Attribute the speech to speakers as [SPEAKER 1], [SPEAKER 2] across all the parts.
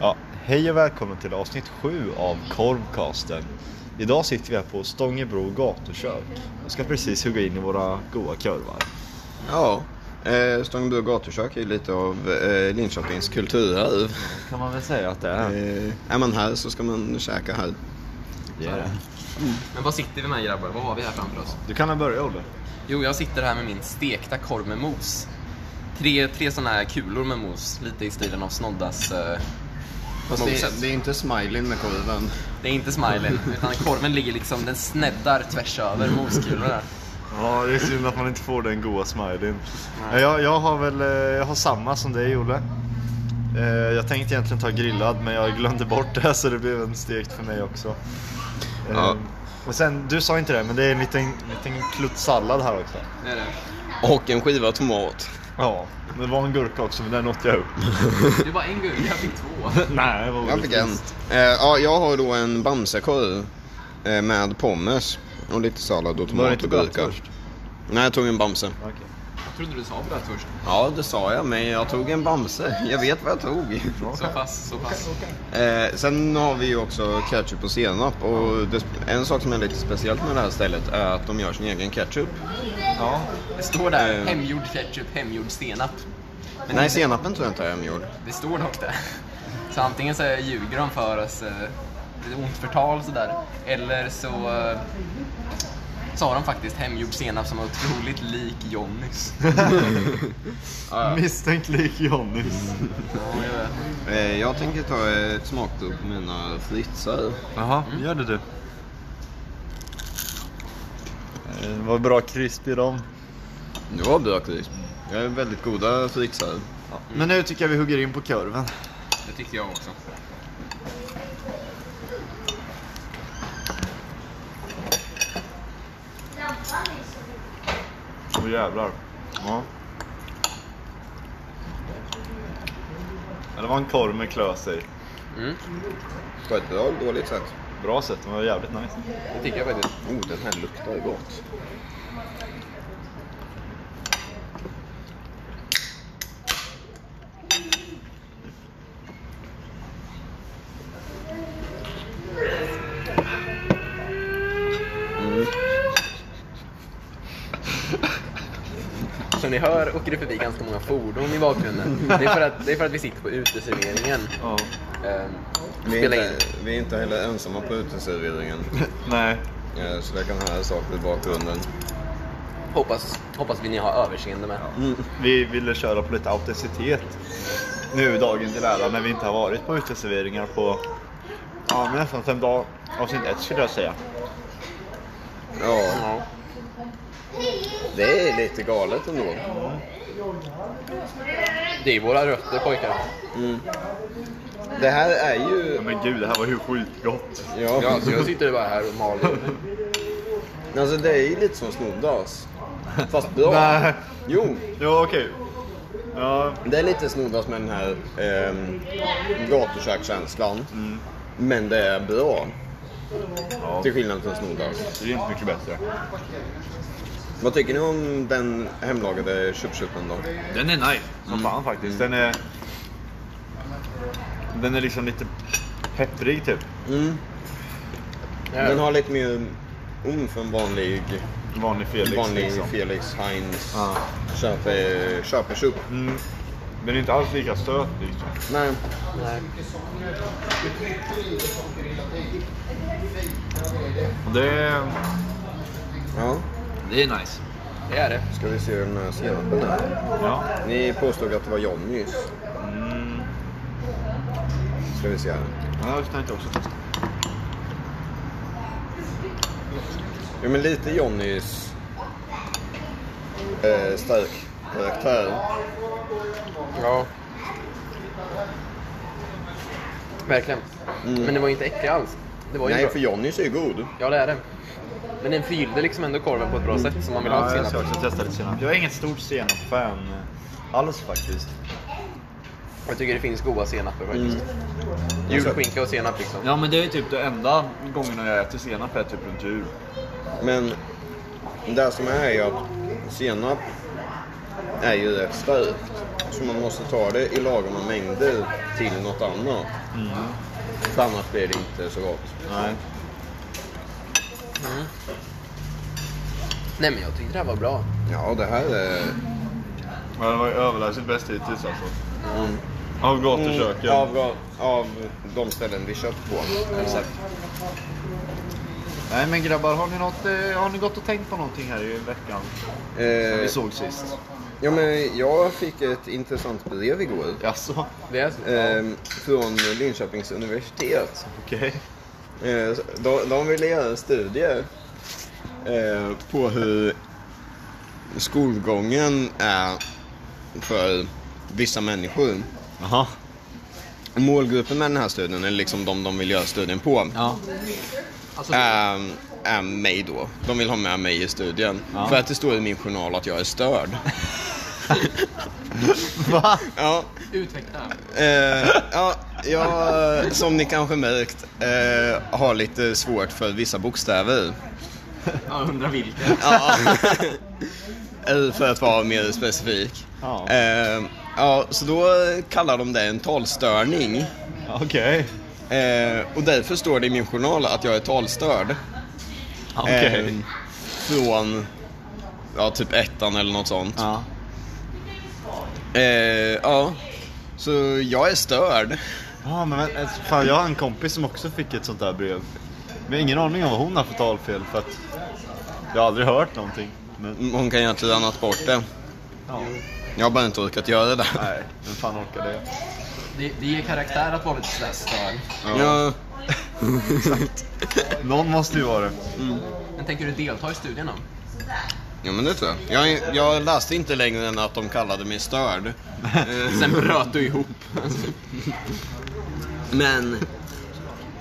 [SPEAKER 1] Ja, hej och välkommen till avsnitt 7 av Korvcasten. Idag sitter vi här på Stångebro gatukök och ska precis hugga in i våra goda korvar.
[SPEAKER 2] Ja, eh, Stångebro gatukök är ju lite av eh, Linköpings kulturarv.
[SPEAKER 1] Kan man väl säga att det är.
[SPEAKER 2] Eh, är man här så ska man käka här.
[SPEAKER 1] Yeah.
[SPEAKER 3] Men vad sitter vi med grabbar? Vad har vi här framför oss?
[SPEAKER 1] Du kan väl börja Olle?
[SPEAKER 3] Jo, jag sitter här med min stekta korv med mos. Tre, tre sådana här kulor med mos, lite i stilen av Snoddas eh,
[SPEAKER 2] Fast
[SPEAKER 3] moset.
[SPEAKER 2] det, det är inte smiling med korven.
[SPEAKER 3] Det är inte smilen, utan korven ligger liksom, den sneddar tvärs över moskulorna.
[SPEAKER 1] Ja, det är synd att man inte får den goda smileyn. Ja, Jag, jag har väl eh, jag har samma som dig Olle. Eh, Jag tänkte egentligen ta grillad men jag glömde bort det så det blev en stekt för mig också. Eh,
[SPEAKER 2] Ja.
[SPEAKER 1] Och sen, du sa inte det men det är en liten, liten klutt sallad här också.
[SPEAKER 3] Det är det.
[SPEAKER 2] Och en skiva tomat.
[SPEAKER 1] Ja, det var en gurka också men den åt jag upp.
[SPEAKER 3] Det var en gurka, jag fick två.
[SPEAKER 1] Nej, det var
[SPEAKER 2] Jag fick en. Eh, ja, jag har då en bamsekorv eh, med pommes och lite sallad och
[SPEAKER 1] Var det
[SPEAKER 2] tomat
[SPEAKER 1] inte
[SPEAKER 2] och
[SPEAKER 1] bröd
[SPEAKER 2] gurka.
[SPEAKER 1] först?
[SPEAKER 2] Nej, jag tog en bamse.
[SPEAKER 1] Okej.
[SPEAKER 3] Jag trodde du sa bröd först.
[SPEAKER 2] Ja, det sa jag, men jag tog en bamse. Jag vet vad jag tog.
[SPEAKER 3] Så pass, så pass.
[SPEAKER 2] Eh, sen har vi ju också ketchup och senap och det, en sak som är lite speciellt med det här stället är att de gör sin egen ketchup.
[SPEAKER 1] Ja.
[SPEAKER 3] Det står där,
[SPEAKER 2] Eh.
[SPEAKER 3] hemgjord ketchup, hemgjord senap. Men
[SPEAKER 2] Nej,
[SPEAKER 3] det-
[SPEAKER 2] senapen tror jag inte är hemgjord.
[SPEAKER 3] Det står dock det. Så antingen så ljuger de för oss, eh, det är ont förtal sådär. Eller så eh, sa de faktiskt hemgjord senap som är otroligt lik Johnnys.
[SPEAKER 1] Misstänkt lik Johnnys.
[SPEAKER 2] Eh, jag tänker ta ett smakprov på mina fritzar.
[SPEAKER 1] Jaha, gör det du. Eh, Vad bra krisp i dem.
[SPEAKER 2] Det var bra crisp. Jag är väldigt goda fritzar.
[SPEAKER 1] Men nu tycker jag vi hugger in på kurven.
[SPEAKER 3] Det tyckte jag också.
[SPEAKER 1] Åh jävlar. Ja. Ja, Det var en korv med klös i.
[SPEAKER 3] Mm,
[SPEAKER 2] På ett bra och dåligt sätt.
[SPEAKER 1] Bra sätt, den var jävligt nice.
[SPEAKER 3] det tycker jag faktiskt.
[SPEAKER 2] Oh, den här luktar gott.
[SPEAKER 3] Som ni hör åker det förbi ganska många fordon i bakgrunden. Det är för att, det är för att vi sitter på uteserveringen.
[SPEAKER 1] Ja.
[SPEAKER 3] Eh,
[SPEAKER 2] Vi är,
[SPEAKER 3] Spela in.
[SPEAKER 2] inte, vi är inte heller ensamma på uteserveringen.
[SPEAKER 1] Nej.
[SPEAKER 2] Eh, så det kan höra saker i bakgrunden.
[SPEAKER 3] Hoppas, hoppas vi ni har överseende med.
[SPEAKER 1] Vi ville köra på lite autenticitet nu dagen till ära när vi inte har varit på uteserveringar på ja, men nästan fem dagar. Avsnitt ett skulle jag säga.
[SPEAKER 2] Ja.
[SPEAKER 3] Ja.
[SPEAKER 2] Det är lite galet ändå.
[SPEAKER 3] Det är våra rötter pojkar.
[SPEAKER 2] Det här är ju...
[SPEAKER 1] Ja, men gud, det här var ju skitgott.
[SPEAKER 2] Ja,
[SPEAKER 3] Ja, så Alltså, jag sitter bara här och maler.
[SPEAKER 2] Alltså det är ju lite som snoddas. Fast bra.
[SPEAKER 1] Nej.
[SPEAKER 2] Jo,
[SPEAKER 1] Ja, okej. Ja,
[SPEAKER 2] det är lite snoddas med den här ehm, gatukökskänslan. Men det är bra.
[SPEAKER 1] Mm. ja,
[SPEAKER 2] Till skillnad från snoddas.
[SPEAKER 1] det är inte mycket bättre.
[SPEAKER 2] Vad tycker ni om den hemlagade köpsjuppen då?
[SPEAKER 1] Den är nice. Som fan faktiskt. Mm. Den är... Den är liksom lite pepprig typ.
[SPEAKER 2] Den har lite mer umf än vanlig,
[SPEAKER 1] Vanlig Felix
[SPEAKER 2] vanlig
[SPEAKER 1] liksom.
[SPEAKER 2] Felix Heinz
[SPEAKER 1] Ja.
[SPEAKER 2] köpe- köpersjupp.
[SPEAKER 1] Mm. Den är inte alls lika söt liksom.
[SPEAKER 2] Nej,
[SPEAKER 3] Nej.
[SPEAKER 1] Och Det är...
[SPEAKER 2] ja.
[SPEAKER 1] Det är nice.
[SPEAKER 3] Det är det.
[SPEAKER 2] Ska vi se hur den här senapen är?
[SPEAKER 1] Ja.
[SPEAKER 2] Ni påstod att det var Johnnys.
[SPEAKER 1] Mm.
[SPEAKER 2] Ska vi se här.
[SPEAKER 1] Ja, jag tänkte också testa.
[SPEAKER 2] Jo men lite Johnnys eh, stark karaktär.
[SPEAKER 3] Ja. Verkligen. Men det var inte äcklig alls. Det var ju
[SPEAKER 2] Nej
[SPEAKER 3] bra.
[SPEAKER 2] för Johnnys är ju god.
[SPEAKER 3] Ja, det är det. Men den förgyllde liksom ändå korven på ett bra sätt som man vill ha
[SPEAKER 1] Ja,
[SPEAKER 3] ja,
[SPEAKER 1] jag ska
[SPEAKER 3] senap.
[SPEAKER 1] också testa lite senap. Jag är inget stort senap-fan eh, alls faktiskt.
[SPEAKER 3] Jag tycker det finns goda senaper faktiskt. Julskinka och senap liksom.
[SPEAKER 1] Ja men det är ju typ det enda gångerna jag äter senap är typ runt jul.
[SPEAKER 2] Alltså, Men det som är är ju att senap är ju rätt starkt. Så man måste ta det i lagom mängder till något annat. För annars blir det inte så gott.
[SPEAKER 1] Nej.
[SPEAKER 3] Mm. Nej men jag tyckte det här var bra.
[SPEAKER 2] Ja, det här är...
[SPEAKER 4] Men det var ju överlägset bäst hittills alltså.
[SPEAKER 2] Mm.
[SPEAKER 4] Av gatuköken.
[SPEAKER 2] Mm, av, av de ställen vi köpt på. Exakt.
[SPEAKER 1] Nej men grabbar, har ni, något, eh, har ni gått och tänkt på någonting här i veckan? Som vi
[SPEAKER 2] Eh,
[SPEAKER 1] såg sist?
[SPEAKER 2] ja, men jag fick ett intressant brev igår.
[SPEAKER 1] Jaså?
[SPEAKER 3] Det är så.
[SPEAKER 2] Eh, från Linköpings universitet.
[SPEAKER 1] Okej.
[SPEAKER 2] Eh, de, de ville göra en studie eh, på hur skolgången är för vissa människor.
[SPEAKER 1] Jaha.
[SPEAKER 2] Målgruppen med den här studien, eller liksom de de vill göra studien på,
[SPEAKER 1] Ja.
[SPEAKER 3] Alltså,
[SPEAKER 2] är, Ehm, är mig då. De vill ha med mig i studien.
[SPEAKER 1] Ja.
[SPEAKER 2] För att det står i min journal att jag är störd.
[SPEAKER 1] Va?
[SPEAKER 2] ja,
[SPEAKER 3] utveckla.
[SPEAKER 2] eh, ja, jag, eh, som ni kanske märkt, eh, har lite svårt för vissa bokstäver.
[SPEAKER 3] Jag undrar vilka.
[SPEAKER 2] Ja. Eller för att vara mer specifik.
[SPEAKER 1] Ja.
[SPEAKER 2] Eh, ja, så då kallar de det en talstörning.
[SPEAKER 1] Okej.
[SPEAKER 2] Eh, och därför står det i min journal att jag är talstörd.
[SPEAKER 1] Okej.
[SPEAKER 2] Eh, från ja, typ ettan eller något sånt. Ja.
[SPEAKER 1] Ja.
[SPEAKER 2] Eh, ja. Så jag är störd.
[SPEAKER 1] Ja men vä- eh, fan, jag har en kompis som också fick ett sånt där brev. Men jag har ingen aning om vad hon har för talfel för att jag har aldrig hört någonting. Men,
[SPEAKER 2] Hon kan egentligen ha annat bort det.
[SPEAKER 1] ja.
[SPEAKER 2] Jag har bara inte orkat göra det.
[SPEAKER 1] Nej, vem fan orkar det?
[SPEAKER 3] Det, det ger karaktär att vara lite sådär störd.
[SPEAKER 2] Ja.
[SPEAKER 1] Någon måste ju vara det.
[SPEAKER 3] Men tänker du delta i studien då?
[SPEAKER 2] Ja men det tror jag. jag. Jag läste inte längre än att de kallade mig störd. Eh, Sen bröt du ihop. men...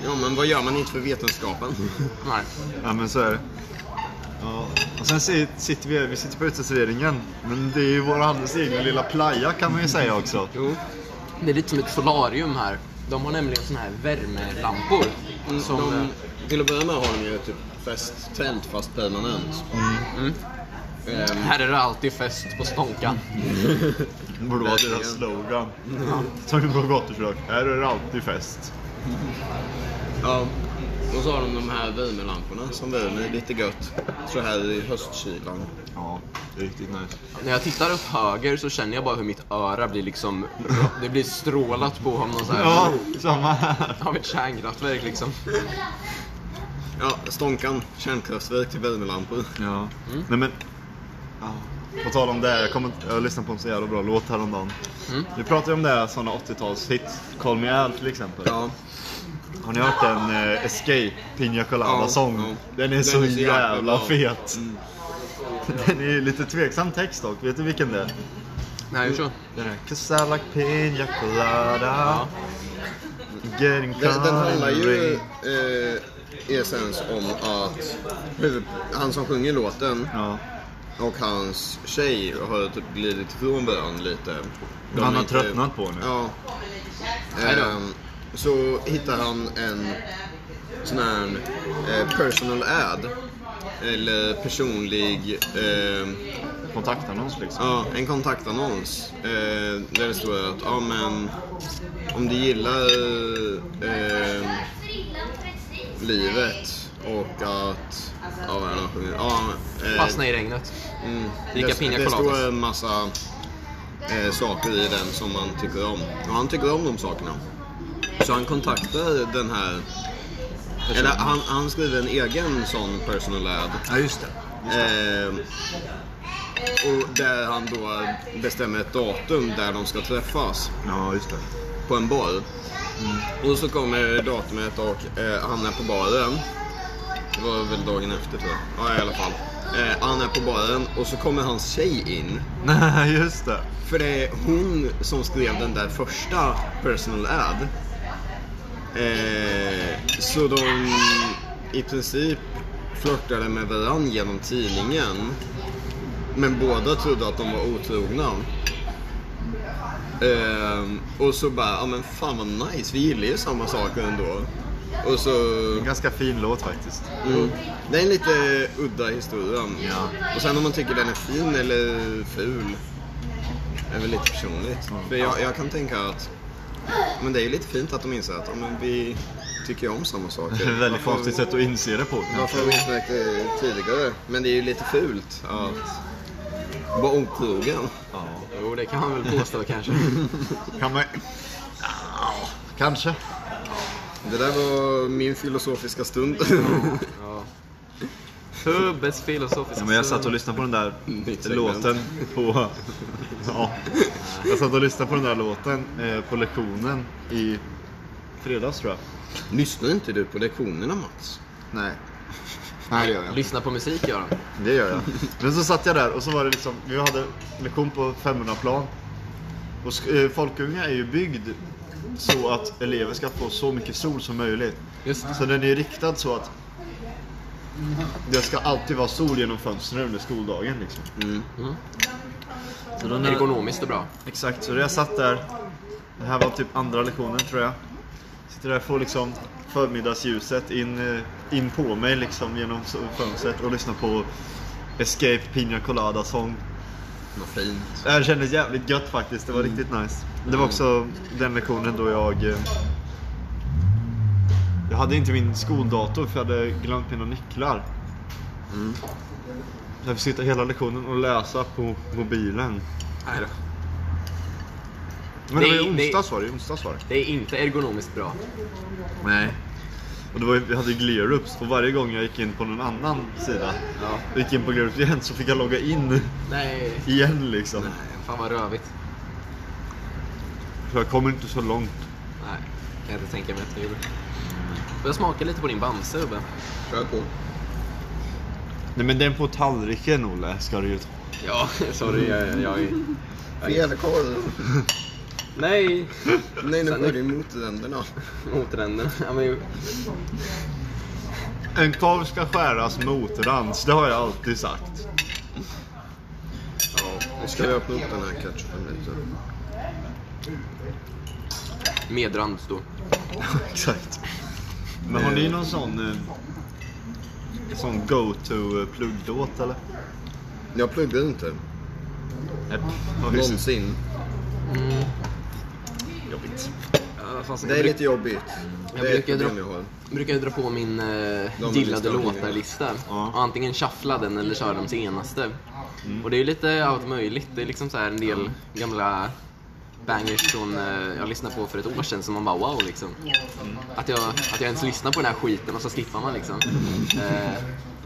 [SPEAKER 2] Ja men vad gör man inte för vetenskapen?
[SPEAKER 3] Nej.
[SPEAKER 1] Ja men så är det. Ja. Och sen si- sitter vi, vi sitter på uteserveringen. Men det är ju vår alldeles egna lilla playa kan man ju säga också.
[SPEAKER 2] Jo.
[SPEAKER 3] Det är lite som ett solarium här. De har nämligen såna här värmelampor. Som,
[SPEAKER 2] Mm. de, till att börja med har de ju typ festtält fast permanent. Ehm,
[SPEAKER 3] eh, här är det alltid fest på Stonkan.
[SPEAKER 1] Det borde vara deras slogan. Som vi på gatukök. Här är det alltid fest.
[SPEAKER 2] Ja. Och så har de de här värmelamporna som värmer lite gött. Så här i höstkylan.
[SPEAKER 1] Ja, det är riktigt nice.
[SPEAKER 3] När jag tittar upp höger så känner jag bara hur mitt öra blir liksom... Det blir strålat på av någon så här...
[SPEAKER 1] Ja, samma här.
[SPEAKER 3] Av ett kärnkraftverk liksom.
[SPEAKER 2] Ja, Stånkan. Kärnkraftverk till värmelampor.
[SPEAKER 1] Ja. Nej men. Ja. På tal om det, jag, kommer, inte- jag lyssnade på en så jävla bra låt häromdagen.
[SPEAKER 3] Mm.
[SPEAKER 1] Vi pratade ju om det här sådana 80-talshits. Call Me Al till exempel.
[SPEAKER 2] Ja.
[SPEAKER 1] Har ni hört den eh, Escape Pina
[SPEAKER 2] Ja,
[SPEAKER 1] Colada-sång?
[SPEAKER 2] ja.
[SPEAKER 1] Den är så jävla fet. Den är ju lite tveksam text dock. Vet du vilken det är?
[SPEAKER 3] Nej, hur så?
[SPEAKER 1] Den här Cause I like Pina Colada. Getting
[SPEAKER 2] Den, den
[SPEAKER 1] caught in
[SPEAKER 2] handlar
[SPEAKER 1] the
[SPEAKER 2] ju
[SPEAKER 1] rain.
[SPEAKER 2] eh, i essens om att huvud- han som sjunger låten
[SPEAKER 1] Ja.
[SPEAKER 2] och hans tjej har typ glidit ifrån varandra lite. De
[SPEAKER 1] Han
[SPEAKER 2] är
[SPEAKER 1] har
[SPEAKER 2] inte-
[SPEAKER 1] tröttnat på henne.
[SPEAKER 2] Ja. Ehm, så hittar han en sån här eh, personal ad. Eller personlig, eh,
[SPEAKER 1] Kontaktannons liksom.
[SPEAKER 2] ja en kontaktannons. Eh, där det står att, ja men om du gillar eh, livet och att... Ja, vad är det han sjunger? Ja, eh,
[SPEAKER 3] Fastna i regnet.
[SPEAKER 2] mm,
[SPEAKER 3] Dricka
[SPEAKER 2] det-
[SPEAKER 3] pina
[SPEAKER 2] Det
[SPEAKER 3] coladas.
[SPEAKER 2] står en massa eh, saker i den som man tycker om. Och han tycker om de sakerna. Så han kontaktar den här... Eller han, han skriver en egen sån personal ad.
[SPEAKER 1] Ja, just det.
[SPEAKER 2] Eh, och där han då bestämmer ett datum där de ska träffas
[SPEAKER 1] Ja, just det.
[SPEAKER 2] på en bar.
[SPEAKER 1] Mm.
[SPEAKER 2] Och så kommer datumet och eh, han är på baren. Det var väl dagen efter tror jag. Ja i alla fall. Eh, han är på baren och så kommer hans tjej in.
[SPEAKER 1] Nej, just det.
[SPEAKER 2] För det är hon som skrev den där första personal ad. Eh, så de i princip flörtade med varandra genom tidningen. Men båda trodde att de var otrogna. Ehm, och så bara, ja men fan vad nice, vi gillar ju samma saker ändå. Och så...
[SPEAKER 1] En ganska fin låt faktiskt.
[SPEAKER 2] Mm. Det är en lite udda historia.
[SPEAKER 1] Ja.
[SPEAKER 2] Och sen om man tycker den är fin eller ful. är väl lite personligt. För jag, jag kan tänka att men det är ju lite fint att de inser att ja, men vi tycker ju om samma saker.
[SPEAKER 1] Det är ett väldigt
[SPEAKER 2] Varför-
[SPEAKER 1] konstigt sätt att inse det på.
[SPEAKER 2] Varför har vi inte märkt det tidigare? Men det är ju lite fult att vara otrogen.
[SPEAKER 3] Jo, det kan man väl påstå kanske.
[SPEAKER 1] Kan man... Kanske.
[SPEAKER 2] Det där var min filosofiska stund.
[SPEAKER 3] Ja. Hubbes filosofiska
[SPEAKER 1] Ja, men jag satt och lyssnade på den där
[SPEAKER 2] Nytt segment.
[SPEAKER 1] låten på... Ja. Jag satt och lyssnade på den där låten eh, på lektionen i fredags tror jag.
[SPEAKER 2] Lyssnar inte du på lektionerna Mats?
[SPEAKER 1] Nej. Nej, det gör jag inte.
[SPEAKER 3] Lyssna på musik, Göran.
[SPEAKER 1] Det gör jag. Men så satt jag där och så var det liksom, vi hade lektion på 500 plan. Och sk- eh, Folkunga är ju byggd så att elever ska få så mycket sol som möjligt.
[SPEAKER 3] Just det.
[SPEAKER 1] Så den är riktad så att det ska alltid vara sol genom fönstren under skoldagen. Liksom.
[SPEAKER 3] Mm.
[SPEAKER 1] Så den
[SPEAKER 3] Ergonomiskt och bra.
[SPEAKER 1] Exakt, så jag satt där. Det här var typ andra lektionen tror jag. Sitter där och får liksom förmiddagsljuset in, eh, in på mig liksom genom so- fönstret och lyssnar på Escape Pina Colada sång.
[SPEAKER 2] Vad fint.
[SPEAKER 1] Det här kändes jävligt gött faktiskt, det var
[SPEAKER 3] Mm.
[SPEAKER 1] riktigt nice. Det var också den lektionen då jag... eh, Jag hade inte min skoldator för jag hade glömt mina nycklar.
[SPEAKER 3] Mm.
[SPEAKER 1] Jag fick sitta hela lektionen och läsa på mobilen.
[SPEAKER 3] Nej då.
[SPEAKER 1] Men det var
[SPEAKER 3] Nej,
[SPEAKER 1] ju
[SPEAKER 3] nej.
[SPEAKER 1] onsdags var det, onsdags var det.
[SPEAKER 3] Det är inte ergonomiskt bra.
[SPEAKER 2] Nej.
[SPEAKER 1] Och det var, ju- vi hade ju Gleurups och varje gång jag gick in på någon annan sida,
[SPEAKER 3] Ja.
[SPEAKER 1] jag gick in på Gleurups igen så fick jag logga in
[SPEAKER 3] Nej.
[SPEAKER 1] igen liksom.
[SPEAKER 3] Nej, fan vad rövigt.
[SPEAKER 1] För jag kommer inte så långt.
[SPEAKER 3] Nej, kan jag inte tänka mig att du gjorde. Får jag smaka lite på din Bamse, Hubbe?
[SPEAKER 2] Kör på.
[SPEAKER 1] Nej men den på tallriken Olle ska du ju ta.
[SPEAKER 3] Ja, sorry. Jag, jag...
[SPEAKER 2] Fjällkorv.
[SPEAKER 3] Nej!
[SPEAKER 2] Nej, nu
[SPEAKER 3] Sen-
[SPEAKER 2] går det emot ränderna.
[SPEAKER 3] Motränderna. Ja, men...
[SPEAKER 1] En korv ska skäras motrands, det har jag alltid sagt.
[SPEAKER 2] Ja, nu ska vi öppna upp den här ketchupen lite.
[SPEAKER 3] Medrands då.
[SPEAKER 1] Exakt. Men har ni någon sån, eh, sån go-to eh, plugglåt eller?
[SPEAKER 2] Jag pluggar inte.
[SPEAKER 1] Nej,
[SPEAKER 2] Någonsin.
[SPEAKER 1] Jobbigt.
[SPEAKER 3] Ja, fast
[SPEAKER 2] Det är lite jobbigt.
[SPEAKER 3] Jag
[SPEAKER 2] det är ett
[SPEAKER 3] brukar dra-
[SPEAKER 2] problem jag har.
[SPEAKER 3] brukar ju dra på min eh,
[SPEAKER 2] De
[SPEAKER 3] gillade
[SPEAKER 2] listorna.
[SPEAKER 3] låtar-lista.
[SPEAKER 1] Ja.
[SPEAKER 3] Och antingen shuffla den eller köra de senaste. Och det är ju lite allt möjligt. Det är liksom så här en del gamla bangers från eh, jag lyssnade på för ett år sedan som man bara wow liksom. Att, jag, att jag ens lyssnar på den här skiten och så skippar man liksom. Eh,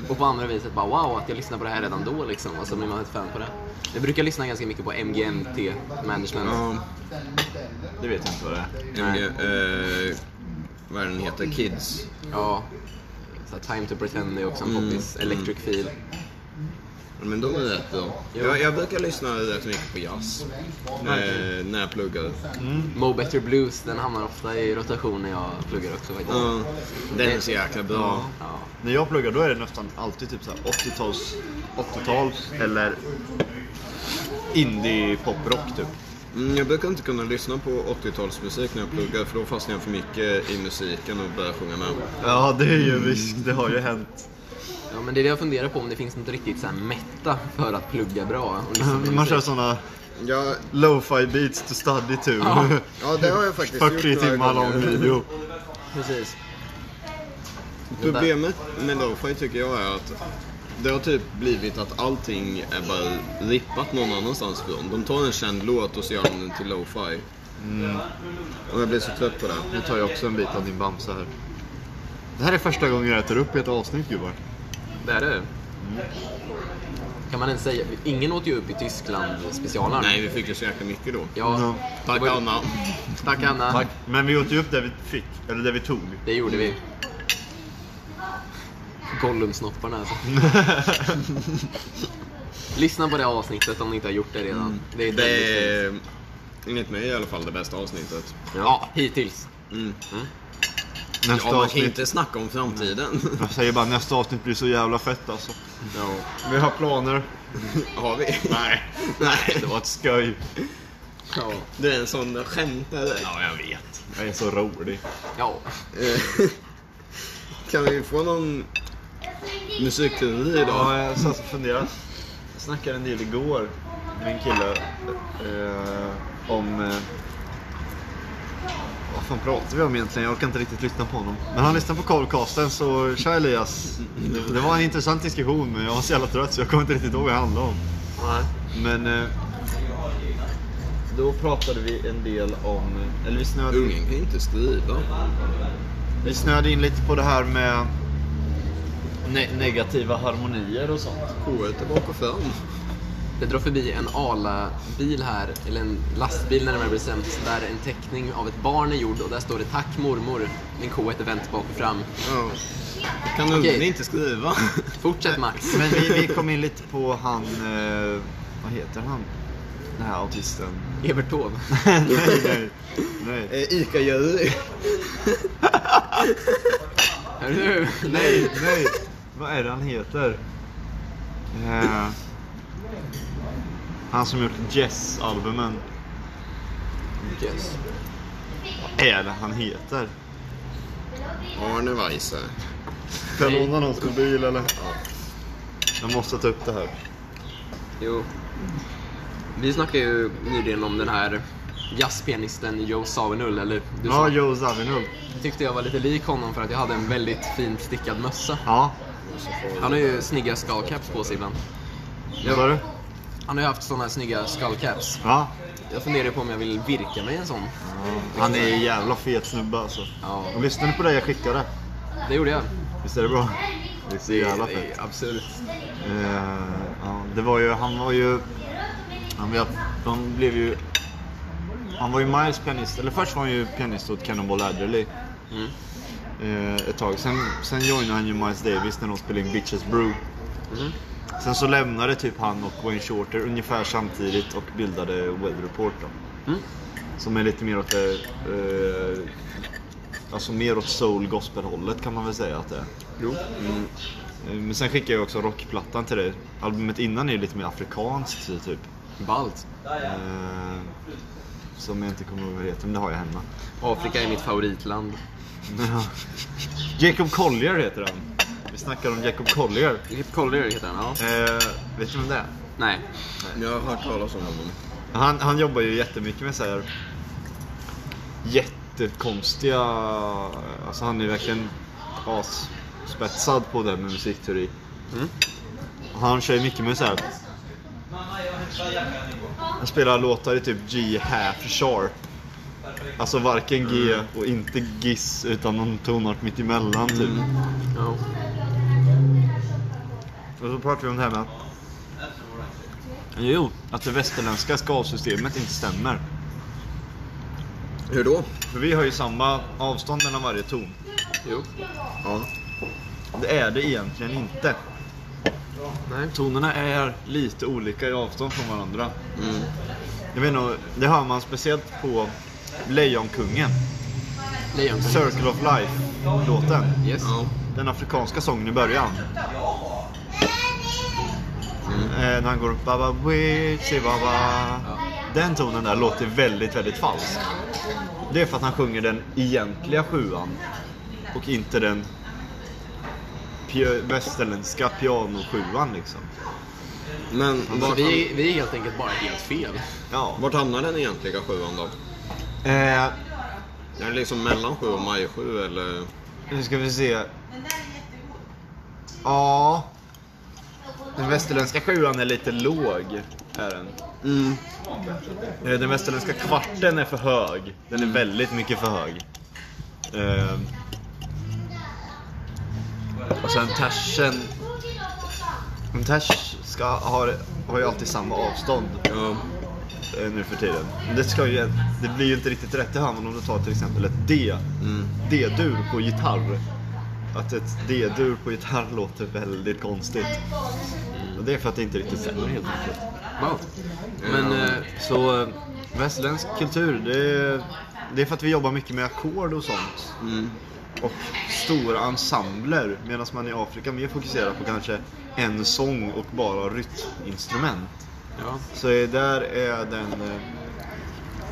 [SPEAKER 3] och på andra viset bara wow att jag lyssnar på det här redan då liksom. Och så blir man ett fan på det. Jag brukar lyssna ganska mycket på MGMT, Management.
[SPEAKER 2] Ja,
[SPEAKER 1] Det vet jag inte vad det är.
[SPEAKER 2] MG, eh, vad är den heter? Kids.
[SPEAKER 3] Ja. Så här, Time to pretend är också en poppis. Electric feel.
[SPEAKER 2] Men de är rätt bra. Jag, jag brukar lyssna rätt mycket på jazz. Eh, när jag pluggar.
[SPEAKER 3] Mo Better Blues, den hamnar ofta i rotation när jag pluggar också faktiskt.
[SPEAKER 2] Ja, den är så jäkla bra.
[SPEAKER 3] Ja.
[SPEAKER 1] När jag pluggar då är det nästan alltid typ så här 80-tals, 80-tals eller indie poprock typ.
[SPEAKER 2] Mm, jag brukar inte kunna lyssna på 80-talsmusik när jag pluggar för då fastnar jag för mycket i musiken och börjar sjunga med.
[SPEAKER 1] Ja det är ju visst, det har ju hänt.
[SPEAKER 3] ja, men det är det jag funderar på om det finns något riktigt så här mätta för att plugga bra. Och lyssna på
[SPEAKER 1] Man kör
[SPEAKER 3] musik.
[SPEAKER 1] såna
[SPEAKER 2] Ja,
[SPEAKER 1] lo-fi beats to study to.
[SPEAKER 2] ja, det har jag faktiskt gjort
[SPEAKER 1] 40
[SPEAKER 2] några
[SPEAKER 1] timmar
[SPEAKER 2] gånger.
[SPEAKER 1] lång video.
[SPEAKER 3] Precis.
[SPEAKER 2] Problemet med lo-fi tycker jag är att det har typ blivit att allting är bara rippat någon annanstans ifrån. De tar en känd låt och så gör de den till lo-fi. Och jag blir så trött på det.
[SPEAKER 1] Nu tar jag också en bit av din Bamse här. Det här är första gången jag äter upp i ett avsnitt gubbar.
[SPEAKER 3] Det är det. Kan man ens säga, ingen åt ju upp i Tyskland specialaren.
[SPEAKER 2] Nej, vi fick ju så jäkla mycket då.
[SPEAKER 3] Ja.
[SPEAKER 2] Tack
[SPEAKER 3] det var ju-
[SPEAKER 2] Anna.
[SPEAKER 3] Tack Anna.
[SPEAKER 1] Tack. Men vi åt ju upp det vi fick, eller det vi tog.
[SPEAKER 3] Det gjorde vi. Gollumsnopparna alltså. Lyssna på det avsnittet om ni inte har gjort det redan. Mm. Det är ett
[SPEAKER 2] Det
[SPEAKER 3] väldigt fint.
[SPEAKER 2] är enligt mig i alla fall det bästa avsnittet.
[SPEAKER 3] Ja, hittills.
[SPEAKER 2] Mm.
[SPEAKER 1] Nästa
[SPEAKER 2] Ja, man kan ju
[SPEAKER 1] avsnitt.
[SPEAKER 2] inte snacka om framtiden.
[SPEAKER 1] Jag säger bara nästa avsnitt blir så jävla fett alltså.
[SPEAKER 2] Ja.
[SPEAKER 1] Vi har planer.
[SPEAKER 2] Har vi? Nej. Nej.
[SPEAKER 1] Det var ett skoj.
[SPEAKER 3] Ja.
[SPEAKER 2] Du är en sån skämtare. Ja, jag vet.
[SPEAKER 1] Jag är så rolig.
[SPEAKER 3] ja.
[SPEAKER 2] Eh, kan vi få någon musikteori idag?
[SPEAKER 1] Ja, jag satt och funderade. Jag snackade en del igår min kille eh, om... Eh, vad fan pratar vi om egentligen? Jag orkar inte riktigt lyssna på honom. Men han lyssnade på Callcasten så tja Elias. Det, det var en intressant diskussion men jag var så jävla trött så jag kommer inte riktigt ihåg vad det handlade om.
[SPEAKER 2] Nej.
[SPEAKER 1] Men eh, då pratade vi en del om... Eller vi snöade in-
[SPEAKER 2] Ungen kan ju inte skriva.
[SPEAKER 1] vi snöade in lite på det här med ne- negativa harmonier och sånt.
[SPEAKER 2] Håret är bak och fram.
[SPEAKER 3] Det drar förbi en ALA-bil här, eller en lastbil när det blir bestämt, där en teckning av ett barn är gjord och där står det “Tack mormor, min ko heter vänt bak och fram”.
[SPEAKER 2] Ja. Kan ungen
[SPEAKER 3] Okej.
[SPEAKER 2] inte skriva?
[SPEAKER 3] Fortsätt Max.
[SPEAKER 1] Men vi, vi kom in lite på han... Eh, vad heter han? Den här autisten.
[SPEAKER 3] Evert Taube.
[SPEAKER 1] nej, nej, nej.
[SPEAKER 2] Eh, Ica-jury.
[SPEAKER 3] Hör du?
[SPEAKER 1] Nej, nej. Vad är det han heter? Eh, han som gjort Jess-albumen.
[SPEAKER 3] Yes.
[SPEAKER 1] Vad är det han heter?
[SPEAKER 2] Arne Weise.
[SPEAKER 1] Kan
[SPEAKER 3] Nej.
[SPEAKER 1] någon ha någons mobil eller? Jag måste ta upp det här.
[SPEAKER 3] Jo. Vi snackade ju nyligen om den här jazzpianisten Joe Savinull, eller du
[SPEAKER 1] Ja,
[SPEAKER 3] sa,
[SPEAKER 1] Joe Zawinul.
[SPEAKER 3] tyckte jag var lite lik honom för att jag hade en väldigt fint stickad mössa.
[SPEAKER 1] Ja,
[SPEAKER 3] Han har ju snygga skullcaps på sig ibland.
[SPEAKER 1] vad sa du?
[SPEAKER 3] Han har ju haft sådana här snygga skullcaps.
[SPEAKER 1] Ja.
[SPEAKER 3] Jag funderar ju på om jag vill virka mig en sån.
[SPEAKER 1] Han är en jävla fet snubbe alltså.
[SPEAKER 3] Ja,
[SPEAKER 1] Och lyssnade ni på det jag skickade?
[SPEAKER 3] det gjorde jag.
[SPEAKER 1] Visst är det bra? Det är så jävla
[SPEAKER 3] Det är
[SPEAKER 1] fett.
[SPEAKER 3] Absolut.
[SPEAKER 1] Eh, ja, det var ju, han var ju... Han blev, de blev ju... Han var ju Miles pianist, eller först var han ju pianist åt Cannonball Adderley
[SPEAKER 3] Mm.
[SPEAKER 1] eh, ett tag. Sen, sen joinade han ju Miles Davis när de spelade in Bitches Brew.
[SPEAKER 3] Mhm.
[SPEAKER 1] Sen så lämnade typ han och Wayne Shorter ungefär samtidigt och bildade Weather Report då.
[SPEAKER 3] Mm.
[SPEAKER 1] Som är lite mer åt det... Eh, alltså mer åt soul gospel hållet kan man väl säga att det är.
[SPEAKER 2] Jo.
[SPEAKER 1] Eh, Men sen skickade jag också rockplattan till dig. Albumet innan är ju lite mer afrikanskt så typ.
[SPEAKER 3] Ballt.
[SPEAKER 1] Eh, som jag inte kommer ihåg vad det heter, men det har jag hemma.
[SPEAKER 3] Afrika är mitt favoritland.
[SPEAKER 1] Jacob Collier heter han. Vi snackar om Jacob Collier.
[SPEAKER 3] Hip Collier heter han, ja.
[SPEAKER 1] Eh, vet du vem det är?
[SPEAKER 3] Nej.
[SPEAKER 2] Jag har hört talas om honom.
[SPEAKER 1] Han, han jobbar ju jättemycket med så här jättekonstiga... Alltså han är verkligen asspetsad på det med musikteori.
[SPEAKER 3] Mm.
[SPEAKER 1] Han kör ju mycket med så här... Han spelar låtar i typ G half sharp. Alltså varken G och inte Giss utan någon tonart mitt emellan typ.
[SPEAKER 3] Ja.
[SPEAKER 1] Och så pratar vi om det här med att... Jo, att det västerländska skalsystemet inte stämmer.
[SPEAKER 2] Hur då?
[SPEAKER 1] För vi har ju samma avstånd mellan varje ton.
[SPEAKER 3] Jo.
[SPEAKER 2] Ja.
[SPEAKER 1] Det är det egentligen inte.
[SPEAKER 3] Nej.
[SPEAKER 1] Tonerna är lite olika i avstånd från varandra.
[SPEAKER 2] Mm.
[SPEAKER 1] Jag vet nog, det hör man speciellt på Lejonkungen,
[SPEAKER 3] Lejon.
[SPEAKER 1] Circle of Life-låten.
[SPEAKER 3] Yes.
[SPEAKER 2] Ja.
[SPEAKER 1] Den afrikanska sången i början. Eh, när han går upp baba witchy baba. Den tonen där låter väldigt, väldigt falsk. Det är för att han sjunger den egentliga sjuan och inte den pia- västerländska pianosjuan liksom.
[SPEAKER 2] Men
[SPEAKER 3] Så
[SPEAKER 2] vart, ham-
[SPEAKER 3] vi, vi är helt enkelt bara helt fel.
[SPEAKER 1] Ja.
[SPEAKER 2] vart hamnar den egentliga sjuan då?
[SPEAKER 1] Eh,
[SPEAKER 2] Den är liksom mellan sju och maj sju eller?
[SPEAKER 1] nu ska vi se. Ja. Den västerländska sjuan är lite låg. Är den.
[SPEAKER 2] Mm.
[SPEAKER 1] Eh, Den västerländska kvarten är för hög. Den är väldigt mycket för hög. Eh, och sen tersen. En ters ska, har, har ju alltid samma avstånd
[SPEAKER 2] Ja.
[SPEAKER 1] eh, nu för tiden. Men Det, ska ju, det blir ju inte riktigt rätt i handen om du tar till exempel ett D.
[SPEAKER 2] Mm.
[SPEAKER 1] D-dur på gitarr. Att ett D-dur på gitarr låter väldigt konstigt. Och det är för att det inte riktigt stämmer helt enkelt.
[SPEAKER 3] Wow. Men eh,
[SPEAKER 1] Så eh, västerländsk kultur, det är, det är för att vi jobbar mycket med ackord och sånt.
[SPEAKER 2] Mm.
[SPEAKER 1] Och stora ensembler. Medan man i Afrika mer fokuserar på kanske en sång och bara rytminstrument.
[SPEAKER 3] ja.
[SPEAKER 1] Så eh, där är den... eh,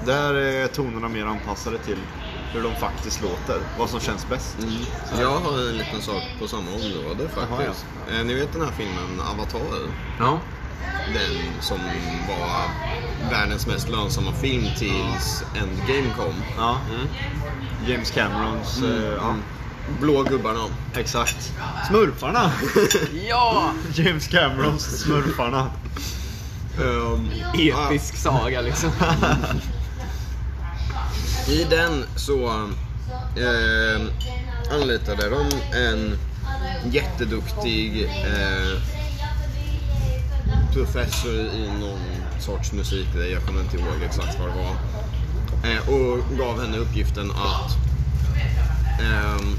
[SPEAKER 1] Där är tonerna mer anpassade till hur de faktiskt låter. Vad som känns bäst.
[SPEAKER 2] Mm. Jag har en liten sak på samma område faktiskt. Eh, ni vet den här filmen Avatar?
[SPEAKER 3] ja.
[SPEAKER 2] den som var världens mest lönsamma film tills Endgame kom.
[SPEAKER 1] Ja.
[SPEAKER 2] Mm.
[SPEAKER 1] James Camerons... eh, ja.
[SPEAKER 2] Mm. Blå gubbarna.
[SPEAKER 1] Exakt. Smurfarna!
[SPEAKER 3] Ja!
[SPEAKER 1] James Camerons Smurfarna.
[SPEAKER 2] Ehm,
[SPEAKER 3] Episk saga liksom.
[SPEAKER 2] ja, I den så eh, anlitade de en jätteduktig eh, professor i någon sorts musikgrej, jag kommer inte ihåg exakt vad det var. Eh, och gav henne uppgiften att ehm,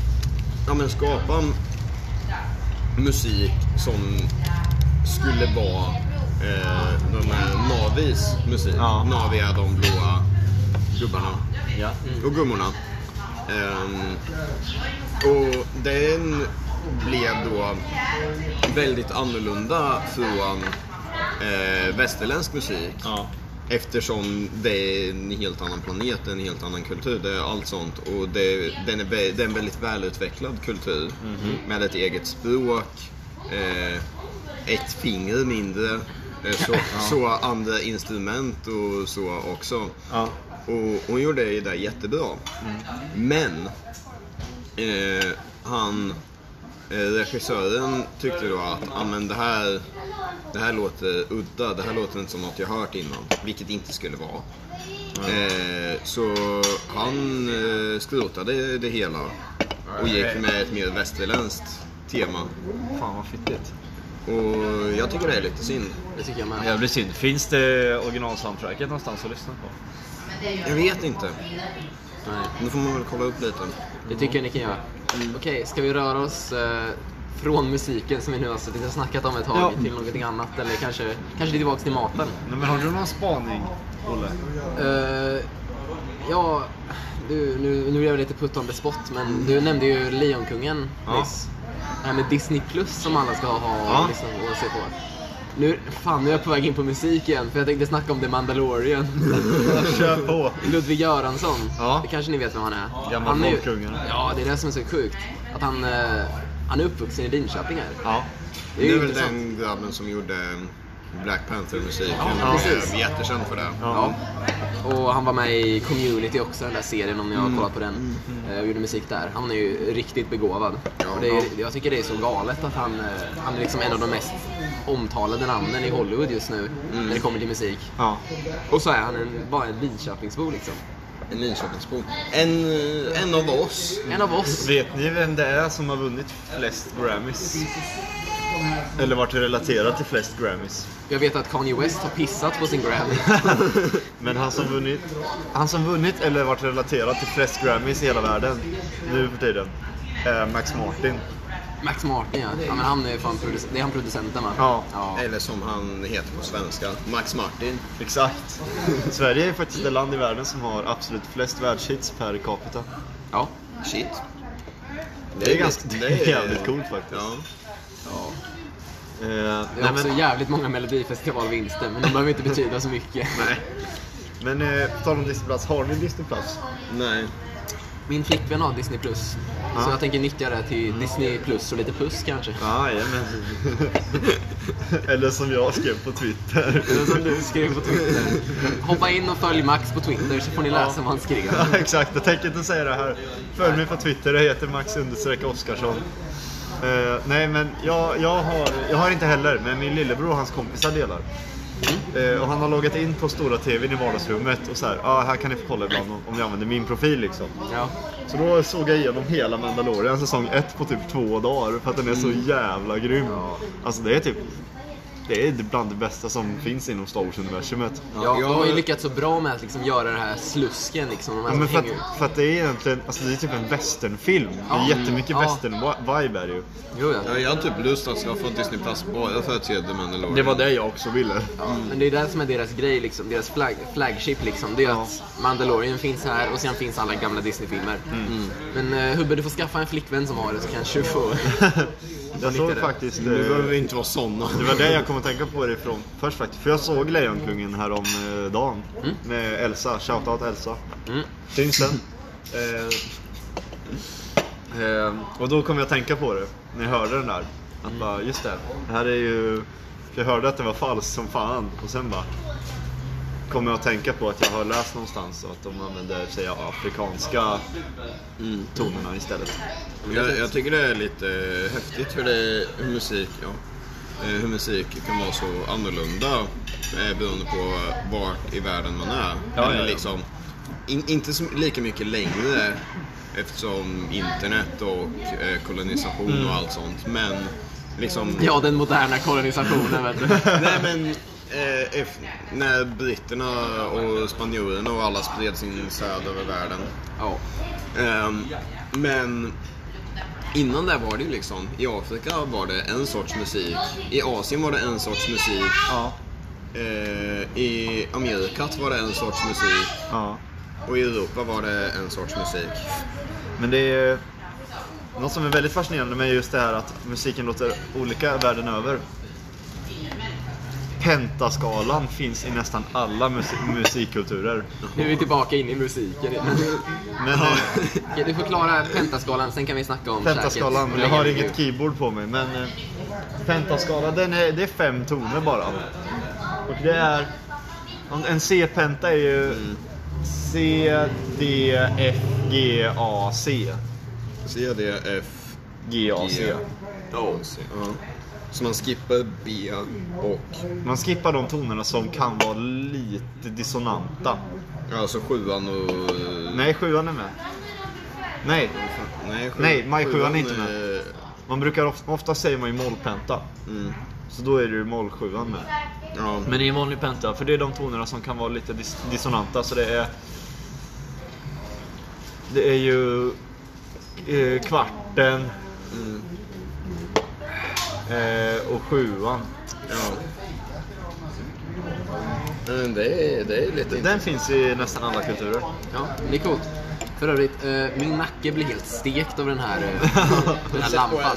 [SPEAKER 2] ja, men skapa musik som skulle vara eh, de här Navis musik.
[SPEAKER 1] Ja.
[SPEAKER 2] Navi är de blåa gubbarna
[SPEAKER 1] ja.
[SPEAKER 3] mm,
[SPEAKER 2] och gummorna. Ehm, och den blev då väldigt annorlunda från eh, västerländsk musik.
[SPEAKER 1] ja.
[SPEAKER 2] Eftersom det är en helt annan planet, en helt annan kultur, det är allt sånt. Och det, den, är, vä- det är en väldigt välutvecklad kultur. Med ett eget språk, eh, ett finger mindre, eh, så, så andra instrument och så också.
[SPEAKER 1] Ja.
[SPEAKER 2] Och hon gjorde det där jättebra. Men eh, han, eh, regissören tyckte då att ah, men det, här, det här låter udda, det här låter inte som något jag hört innan. Vilket det inte skulle vara. Eh, så han eh, skrotade det hela och gick med ett mer västerländskt tema.
[SPEAKER 1] Fan vad fittigt.
[SPEAKER 2] Och jag tycker det är lite synd.
[SPEAKER 3] Det tycker jag med.
[SPEAKER 1] Jävligt synd. Finns det originalsoundtracket någonstans att lyssna på?
[SPEAKER 2] Jag vet inte.
[SPEAKER 3] Nej.
[SPEAKER 2] Nu får man väl kolla upp lite.
[SPEAKER 3] Det tycker jag ni kan göra. Okej, ska vi röra oss eh, från musiken som vi nu har suttit och snackat om ett tag
[SPEAKER 1] Ja.
[SPEAKER 3] till någonting annat eller kanske, kanske tillbaka till maten?
[SPEAKER 1] Nej, men har du någon spaning, Olle?
[SPEAKER 3] Eh, ja, du, nu, nu är jag lite put on the spot, men du nämnde ju Lejonkungen
[SPEAKER 1] Ja.
[SPEAKER 3] nyss. Det här med Disney Plus som alla ska ha och,
[SPEAKER 1] Ja.
[SPEAKER 3] lyssna på och se på. Nu, fan, nu är jag på väg in på musik igen, för jag tänkte snacka om The Mandalorian.
[SPEAKER 1] Kör på!
[SPEAKER 3] Ludvig Göransson,
[SPEAKER 1] Ja.
[SPEAKER 3] det kanske ni vet vem han är?
[SPEAKER 1] Gammal
[SPEAKER 3] han är ju-
[SPEAKER 1] folkungen.
[SPEAKER 3] Ja, det är det som är så sjukt. Att han, eh, han är uppvuxen i Linköping här.
[SPEAKER 1] Ja.
[SPEAKER 3] Det är
[SPEAKER 2] Det
[SPEAKER 3] ju
[SPEAKER 2] är väl
[SPEAKER 3] intressant.
[SPEAKER 2] den grabben som gjorde Black Panther-musiken.
[SPEAKER 3] Ja, precis.
[SPEAKER 2] Eh, Jättekänd för det.
[SPEAKER 1] Ja.
[SPEAKER 3] Ja. Och han var med i Community också, den där serien om ni
[SPEAKER 1] Mm.
[SPEAKER 3] har kollat på den. eh, Och gjorde musik där. Han är ju riktigt begåvad. och det är, jag tycker det är så galet att han, eh, han är liksom en av de mest omtalade namnen i Hollywood just nu
[SPEAKER 1] Mm.
[SPEAKER 3] när det kommer till musik.
[SPEAKER 1] Ja.
[SPEAKER 3] Och så är han en, bara en Linköpingsbo liksom.
[SPEAKER 2] En Linköpingsbo. En, eh, en av oss.
[SPEAKER 3] En av oss.
[SPEAKER 1] Vet ni vem det är som har vunnit flest Grammys? Eller varit relaterat till flest Grammys?
[SPEAKER 3] Jag vet att Kanye West har pissat på sin Grammy.
[SPEAKER 1] Men han som vunnit, han som vunnit eller varit relaterad till flest Grammys i hela världen nu för tiden är Max Martin.
[SPEAKER 3] Max Martin ja. ja men han är fan producent, det är han producenten va?
[SPEAKER 1] Ja.
[SPEAKER 2] Eller som han heter på svenska, Max Martin.
[SPEAKER 1] Exakt. Sverige är faktiskt det land i världen som har absolut flest världshits per capita.
[SPEAKER 3] ja.
[SPEAKER 2] Shit.
[SPEAKER 1] Det är ganska- det är jävligt coolt faktiskt.
[SPEAKER 2] Ja.
[SPEAKER 3] ja.
[SPEAKER 1] Eh,
[SPEAKER 3] Det är
[SPEAKER 1] nej,
[SPEAKER 3] också
[SPEAKER 1] men-
[SPEAKER 3] jävligt många melodifestivalvinster men de behöver inte betyda så mycket.
[SPEAKER 1] Nej. Men eh, på tal om Disney Plus, har ni Disney Plus?
[SPEAKER 2] Nej.
[SPEAKER 3] Min flickvän har Disney Plus.
[SPEAKER 1] Ja.
[SPEAKER 3] Så jag tänker nyttja det till Disney Plus och lite puss kanske.
[SPEAKER 1] Ja, jajamän. Eller som jag skrev på Twitter.
[SPEAKER 3] Eller som du skrev på Twitter. Hoppa in och följ Max på Twitter så får ni läsa
[SPEAKER 1] Ja.
[SPEAKER 3] vad han skrev.
[SPEAKER 1] Ja, exakt. Jag tänker inte säga det här. Följ mig på Twitter. Jag heter Max understreck Oskarsson. Eh, nej, men jag, jag, har, jag har inte heller, men min lillebror och hans kompisar delar. Eh, och han har loggat in på stora tvn i vardagsrummet och så här, ah, här kan ni få kolla ibland om, om ni använder min profil liksom.
[SPEAKER 3] Ja.
[SPEAKER 1] Så då såg jag igenom hela Mandalorian säsong 1 på typ två dagar för att den är så jävla grym. Alltså det är typ, det är bland det bästa som finns inom Star Wars-universumet.
[SPEAKER 3] Ja, de har ju lyckats så bra med att liksom göra den här slusken liksom. De här
[SPEAKER 1] Ja,
[SPEAKER 3] som
[SPEAKER 1] men för,
[SPEAKER 3] hänger ut.
[SPEAKER 1] att, för att det är egentligen, alltså det är typ en westernfilm. Det
[SPEAKER 3] Ja.
[SPEAKER 1] är jättemycket
[SPEAKER 3] Ja.
[SPEAKER 1] western-vibe är det ju.
[SPEAKER 3] Jo, ja.
[SPEAKER 2] Ja, Jag har typ lust att skaffa Disney Plus bara för att se The Mandalorian.
[SPEAKER 1] jag också ville.
[SPEAKER 3] Ja, men det är det som är deras grej, liksom, deras flag, flagship. Liksom. Det är att Mandalorian finns här och sen finns alla gamla Disney-filmer.
[SPEAKER 1] Mm.
[SPEAKER 3] Men eh, Hubbe, du får skaffa en flickvän som har det så kanske du får...
[SPEAKER 1] jag såg
[SPEAKER 3] det.
[SPEAKER 1] faktiskt... eh,
[SPEAKER 2] Nu behöver vi inte vara såna.
[SPEAKER 1] Det var det jag kom att tänka på det ifrån först faktiskt. För jag såg Lejonkungen häromdagen
[SPEAKER 3] Mm.
[SPEAKER 1] med Elsa. Shoutout Elsa.
[SPEAKER 3] Mm.
[SPEAKER 1] Finns den. Eh,
[SPEAKER 3] Mm.
[SPEAKER 1] eh, och då kom jag att tänka på det när jag hörde den där. Att bara, just det. Det här är ju För jag hörde att den var falsk som fan och sen bara kom jag att tänka på att jag har läst någonstans att de använder sig av afrikanska
[SPEAKER 2] Mm.
[SPEAKER 1] tonerna istället.
[SPEAKER 2] Jag, jag tycker det är lite häftigt hur, det, hur musik ja, eh, hur musik kan vara så annorlunda eh, beroende på vart i världen man är.
[SPEAKER 1] Ja,
[SPEAKER 2] Eller
[SPEAKER 1] ja, ja.
[SPEAKER 2] liksom, in, inte så, lika mycket längre eftersom internet och eh, kolonisation och allt sånt. Men liksom...
[SPEAKER 3] Ja, den moderna kolonisationen vet du.
[SPEAKER 2] Nej men, eh, eff- när britterna och spanjorerna och alla spred sin söd över världen.
[SPEAKER 3] Ja.
[SPEAKER 2] Ehm, men innan det var det ju liksom, i Afrika var det en sorts musik, i Asien var det en sorts musik,
[SPEAKER 1] Ja.
[SPEAKER 2] eh, i Amerikat var det en sorts musik
[SPEAKER 1] ja.
[SPEAKER 2] och i Europa var det en sorts musik.
[SPEAKER 1] Men det är något som är väldigt fascinerande med just det här att musiken låter olika världen över. Pentaskalan finns i nästan alla musi- musikkulturer.
[SPEAKER 3] Nu är vi tillbaka in i musiken.
[SPEAKER 1] Men eh,
[SPEAKER 3] Okej, du förklarar pentaskalan, sen kan vi snacka om
[SPEAKER 1] pentaskalan,
[SPEAKER 3] käket.
[SPEAKER 1] jag har inget keyboard på mig, men eh, pentaskalan, den är, det är fem toner bara. Och det är, en- en C-penta är ju C, D, F, G, A, C.
[SPEAKER 2] C, D, F,
[SPEAKER 1] G, A, C.
[SPEAKER 2] G, A, C. Ja. Så man skippar B och,
[SPEAKER 1] Man skippar de tonerna som kan vara lite dissonanta.
[SPEAKER 2] alltså sjuan och...
[SPEAKER 1] Nej, sjuan är med. Nej,
[SPEAKER 2] nej, sju,
[SPEAKER 1] Nej, maj sjuan är inte med.
[SPEAKER 2] är-
[SPEAKER 1] man brukar ofta, ofta säger man ju mollpenta.
[SPEAKER 2] Mm.
[SPEAKER 1] Så då är det ju mollsjuan med.
[SPEAKER 2] Ja.
[SPEAKER 1] Men det är vanlig penta, för det är de tonerna som kan vara lite dis- dissonanta. Så det är... Det är ju eh, kvarten
[SPEAKER 2] Mm.
[SPEAKER 1] eh, och sjuan.
[SPEAKER 2] Ja. Men det är, det är lite
[SPEAKER 1] Den finns i nästan alla kulturer.
[SPEAKER 3] Ja, det är coolt. För övrigt, eh, min nacke blir helt stekt av den här, eh, den här lampan.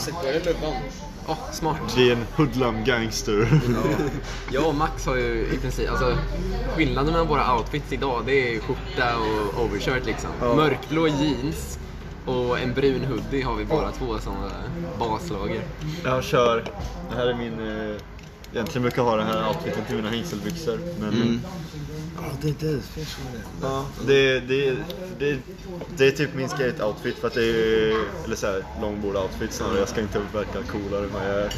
[SPEAKER 3] Åh, smart.
[SPEAKER 1] Det är en hoodlum gangster.
[SPEAKER 3] Jag och Max har ju i princip, alltså skillnaden mellan våra outfits idag det är skjorta och overshirt liksom.
[SPEAKER 1] Ja.
[SPEAKER 3] Mörkblå jeans och en brun hoodie har vi båda två som eh, baslager.
[SPEAKER 1] Jag kör, det här är min, eh, egentligen brukar jag ha den här outfiten till mina hängselbyxor. Men
[SPEAKER 2] Mm. Ja, det är därför jag tror det.
[SPEAKER 1] ja, det, det, det, det är typ min skate-outfit för att det är, eller såhär longboard-outfit snarare. Jag ska inte verka coolare än vad jag är.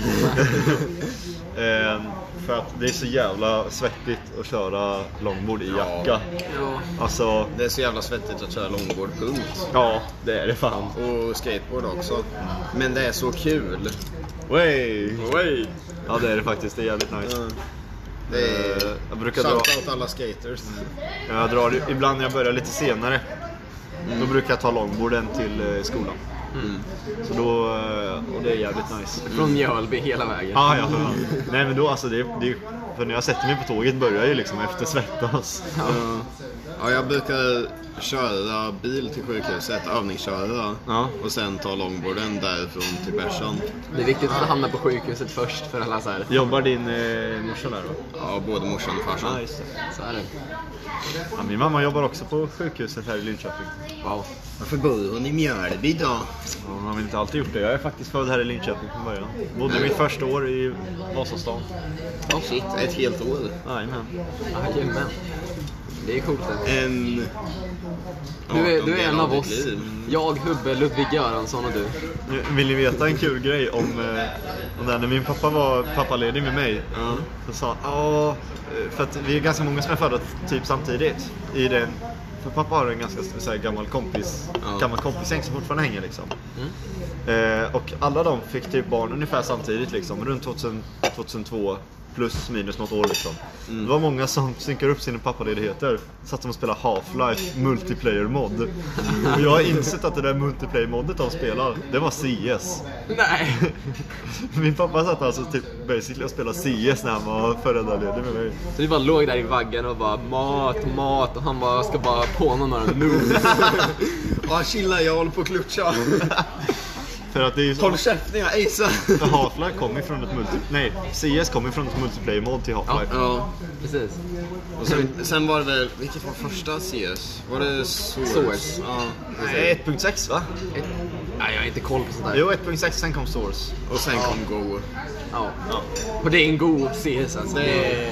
[SPEAKER 1] Ehm, för att det är så jävla svettigt att köra longboard i
[SPEAKER 2] Ja.
[SPEAKER 1] jacka.
[SPEAKER 3] Ja.
[SPEAKER 1] Alltså,
[SPEAKER 2] Det är så jävla svettigt att köra långbord, punkt.
[SPEAKER 1] ja det är det fan.
[SPEAKER 2] Och skateboard också. Men det är så kul.
[SPEAKER 1] Wey.
[SPEAKER 2] Oj! Mm.
[SPEAKER 1] Ja det är det faktiskt, det är jävligt nice.
[SPEAKER 2] Det är...
[SPEAKER 1] Eh, jag brukar dra-
[SPEAKER 2] Shout out alla skaters.
[SPEAKER 1] Jag drar ibland när jag börjar lite senare. Då brukar jag ta långborden till eh, skolan.
[SPEAKER 2] Mm.
[SPEAKER 1] Så då, eh, och det är jävligt nice.
[SPEAKER 3] Från Mjölby hela vägen.
[SPEAKER 1] Ja, ja, ja. Nej men då alltså, det, det, för när jag sätter mig på tåget börjar jag ju liksom efter svettas.
[SPEAKER 2] Ja. ja, jag brukar köra bil till sjukhuset, övningsköra.
[SPEAKER 1] Ja.
[SPEAKER 2] Och sen ta långborden därifrån till bärsan.
[SPEAKER 3] Det är viktigt att hamna på sjukhuset först för alla så här.
[SPEAKER 1] Jobbar din eh, morsa där då?
[SPEAKER 2] Ja, både morsan och farsan.
[SPEAKER 1] just det.
[SPEAKER 3] Så är det.
[SPEAKER 1] Ja, min mamma jobbar också på sjukhuset här i Linköping.
[SPEAKER 3] Wow.
[SPEAKER 2] Varför bor hon i Mjölby då?
[SPEAKER 1] Ja, Hon har väl inte alltid gjort det. Jag är faktiskt född här i Linköping från början. Bodde mitt första år i Vasastan.
[SPEAKER 3] Oh shit.
[SPEAKER 2] Ett helt år.
[SPEAKER 1] Jajamän.
[SPEAKER 3] Jajamän. Det är coolt det.
[SPEAKER 2] En...
[SPEAKER 3] Du är, du
[SPEAKER 2] 18
[SPEAKER 3] är en
[SPEAKER 2] del
[SPEAKER 3] av
[SPEAKER 2] ditt
[SPEAKER 3] oss.
[SPEAKER 2] Ehm, liv.
[SPEAKER 3] Jag, Hubbe, Ludvig Göransson och du.
[SPEAKER 1] Nu, Vill ni veta en kul grej om, eh, om det här? När min pappa var pappaledig med mig
[SPEAKER 2] Ja.
[SPEAKER 1] så sa han "Ja, eh, för att vi är ganska många som är födda typ samtidigt. I den, för pappa har en ganska så här, gammal kompis,
[SPEAKER 2] Ja.
[SPEAKER 1] gammal kompisgäng som fortfarande hänger liksom.
[SPEAKER 3] Mm.
[SPEAKER 1] Eh, och alla de fick typ barn ungefär samtidigt liksom, runt 2000, 2002 plus minus något år liksom. Det var många som synkade upp sina pappaledigheter. Satt de och spelade Half-Life multiplayer mod. Och jag har insett att det där multiplayer modet de spelar, det var CS.
[SPEAKER 3] Nej!
[SPEAKER 1] Min pappa satt alltså typ basically och spelade CS när han var föräldraledig med mig.
[SPEAKER 3] Så vi bara låg där i vaggan och bara mat, mat och han bara ska bara på honom några moves.
[SPEAKER 2] Ja, chilla jag håller på att klutscha.
[SPEAKER 1] För att det är ju så...
[SPEAKER 2] Håll käften jag acear.
[SPEAKER 1] För Half-Life kom ifrån ett multi... Nej, CS kom ifrån ett multiplayer mod till Half-Life.
[SPEAKER 2] Ja,
[SPEAKER 3] Precis.
[SPEAKER 2] och sen, sen var det väl, vilket var första CS? Var det Source?
[SPEAKER 3] Source.
[SPEAKER 2] Ja,
[SPEAKER 1] Nej, 1.6 va?
[SPEAKER 3] Ett- Ja, jag har inte koll på sånt där.
[SPEAKER 1] Jo, 1.6 sen kom Source.
[SPEAKER 2] Och sen kom Go.
[SPEAKER 3] Ja. Och det är en god CS alltså. Det,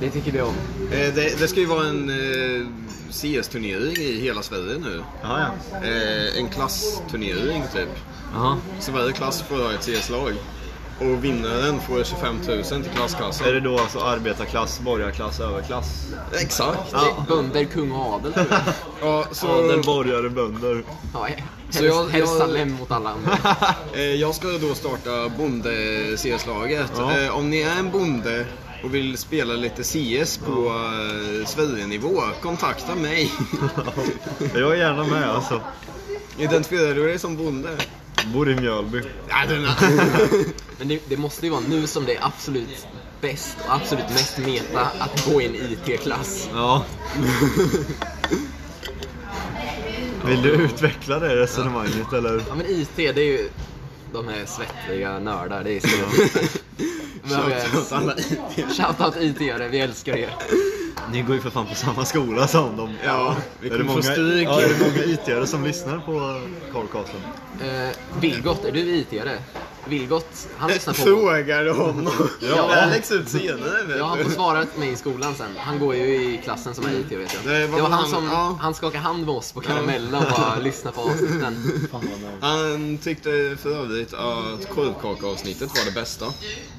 [SPEAKER 3] det tycker vi om.
[SPEAKER 2] Eh, Det, det ska ju vara en eh, CS-turnering i hela Sverige nu.
[SPEAKER 1] Ja, ja.
[SPEAKER 2] Eh, en klassturnering typ.
[SPEAKER 3] Jaha.
[SPEAKER 2] Så varje klass får ha ett CS-lag. Och vinnaren får 25 000 till klasskassan.
[SPEAKER 1] Är det då alltså arbetarklass, borgarklass, överklass?
[SPEAKER 2] Exakt.
[SPEAKER 1] Ja.
[SPEAKER 3] Bönder, kung och adel tror jag.
[SPEAKER 2] Ja, så,
[SPEAKER 1] Adel, borgare, bönder.
[SPEAKER 3] Ja,
[SPEAKER 2] Så jag-
[SPEAKER 3] helst, helst
[SPEAKER 2] jag-
[SPEAKER 3] Salem mot alla andra.
[SPEAKER 2] eh, jag ska då starta bonde-CS-laget.
[SPEAKER 1] Ja.
[SPEAKER 2] Eh, om ni är en bonde och vill spela lite CS på eh, Sverige-nivå, kontakta mig.
[SPEAKER 1] Jag är gärna med alltså.
[SPEAKER 2] Identifierar du dig som bonde?
[SPEAKER 1] Bor i Mjölby.
[SPEAKER 2] Ja, den
[SPEAKER 3] Men det, det måste ju vara nu som det är absolut bäst och absolut mest meta att gå i en IT-klass.
[SPEAKER 1] Ja. Vill du utveckla det resonemanget eller?
[SPEAKER 3] Ja men IT det är ju de här svettiga nördar, det är så.
[SPEAKER 2] Shoutout alla
[SPEAKER 3] Shoutout IT-are, vi älskar er.
[SPEAKER 1] Ni går ju för fan på samma skola som dem.
[SPEAKER 2] Ja, vi
[SPEAKER 1] Är det,
[SPEAKER 2] kommer få
[SPEAKER 1] många,
[SPEAKER 2] stryk.
[SPEAKER 1] ja, är det många it som lyssnar på Carlcasten?
[SPEAKER 3] Eh, Vilgot, är du IT-are? Vilgot, han lyssnar på...
[SPEAKER 2] Frågar du honom?
[SPEAKER 3] Ja.
[SPEAKER 2] Det här läggs ut senare vet
[SPEAKER 3] Ja, han
[SPEAKER 2] du.
[SPEAKER 3] får svara till mig i skolan sen. Han går ju i klassen som är IT vet jag.
[SPEAKER 2] Det var
[SPEAKER 3] Det var
[SPEAKER 2] väl
[SPEAKER 3] han
[SPEAKER 2] han-
[SPEAKER 3] som,
[SPEAKER 2] ja.
[SPEAKER 3] han skakade hand med oss på Karamella och bara lyssnade på avsnitten.
[SPEAKER 2] Han tyckte för övrigt att korvkaka-avsnittet var det bästa.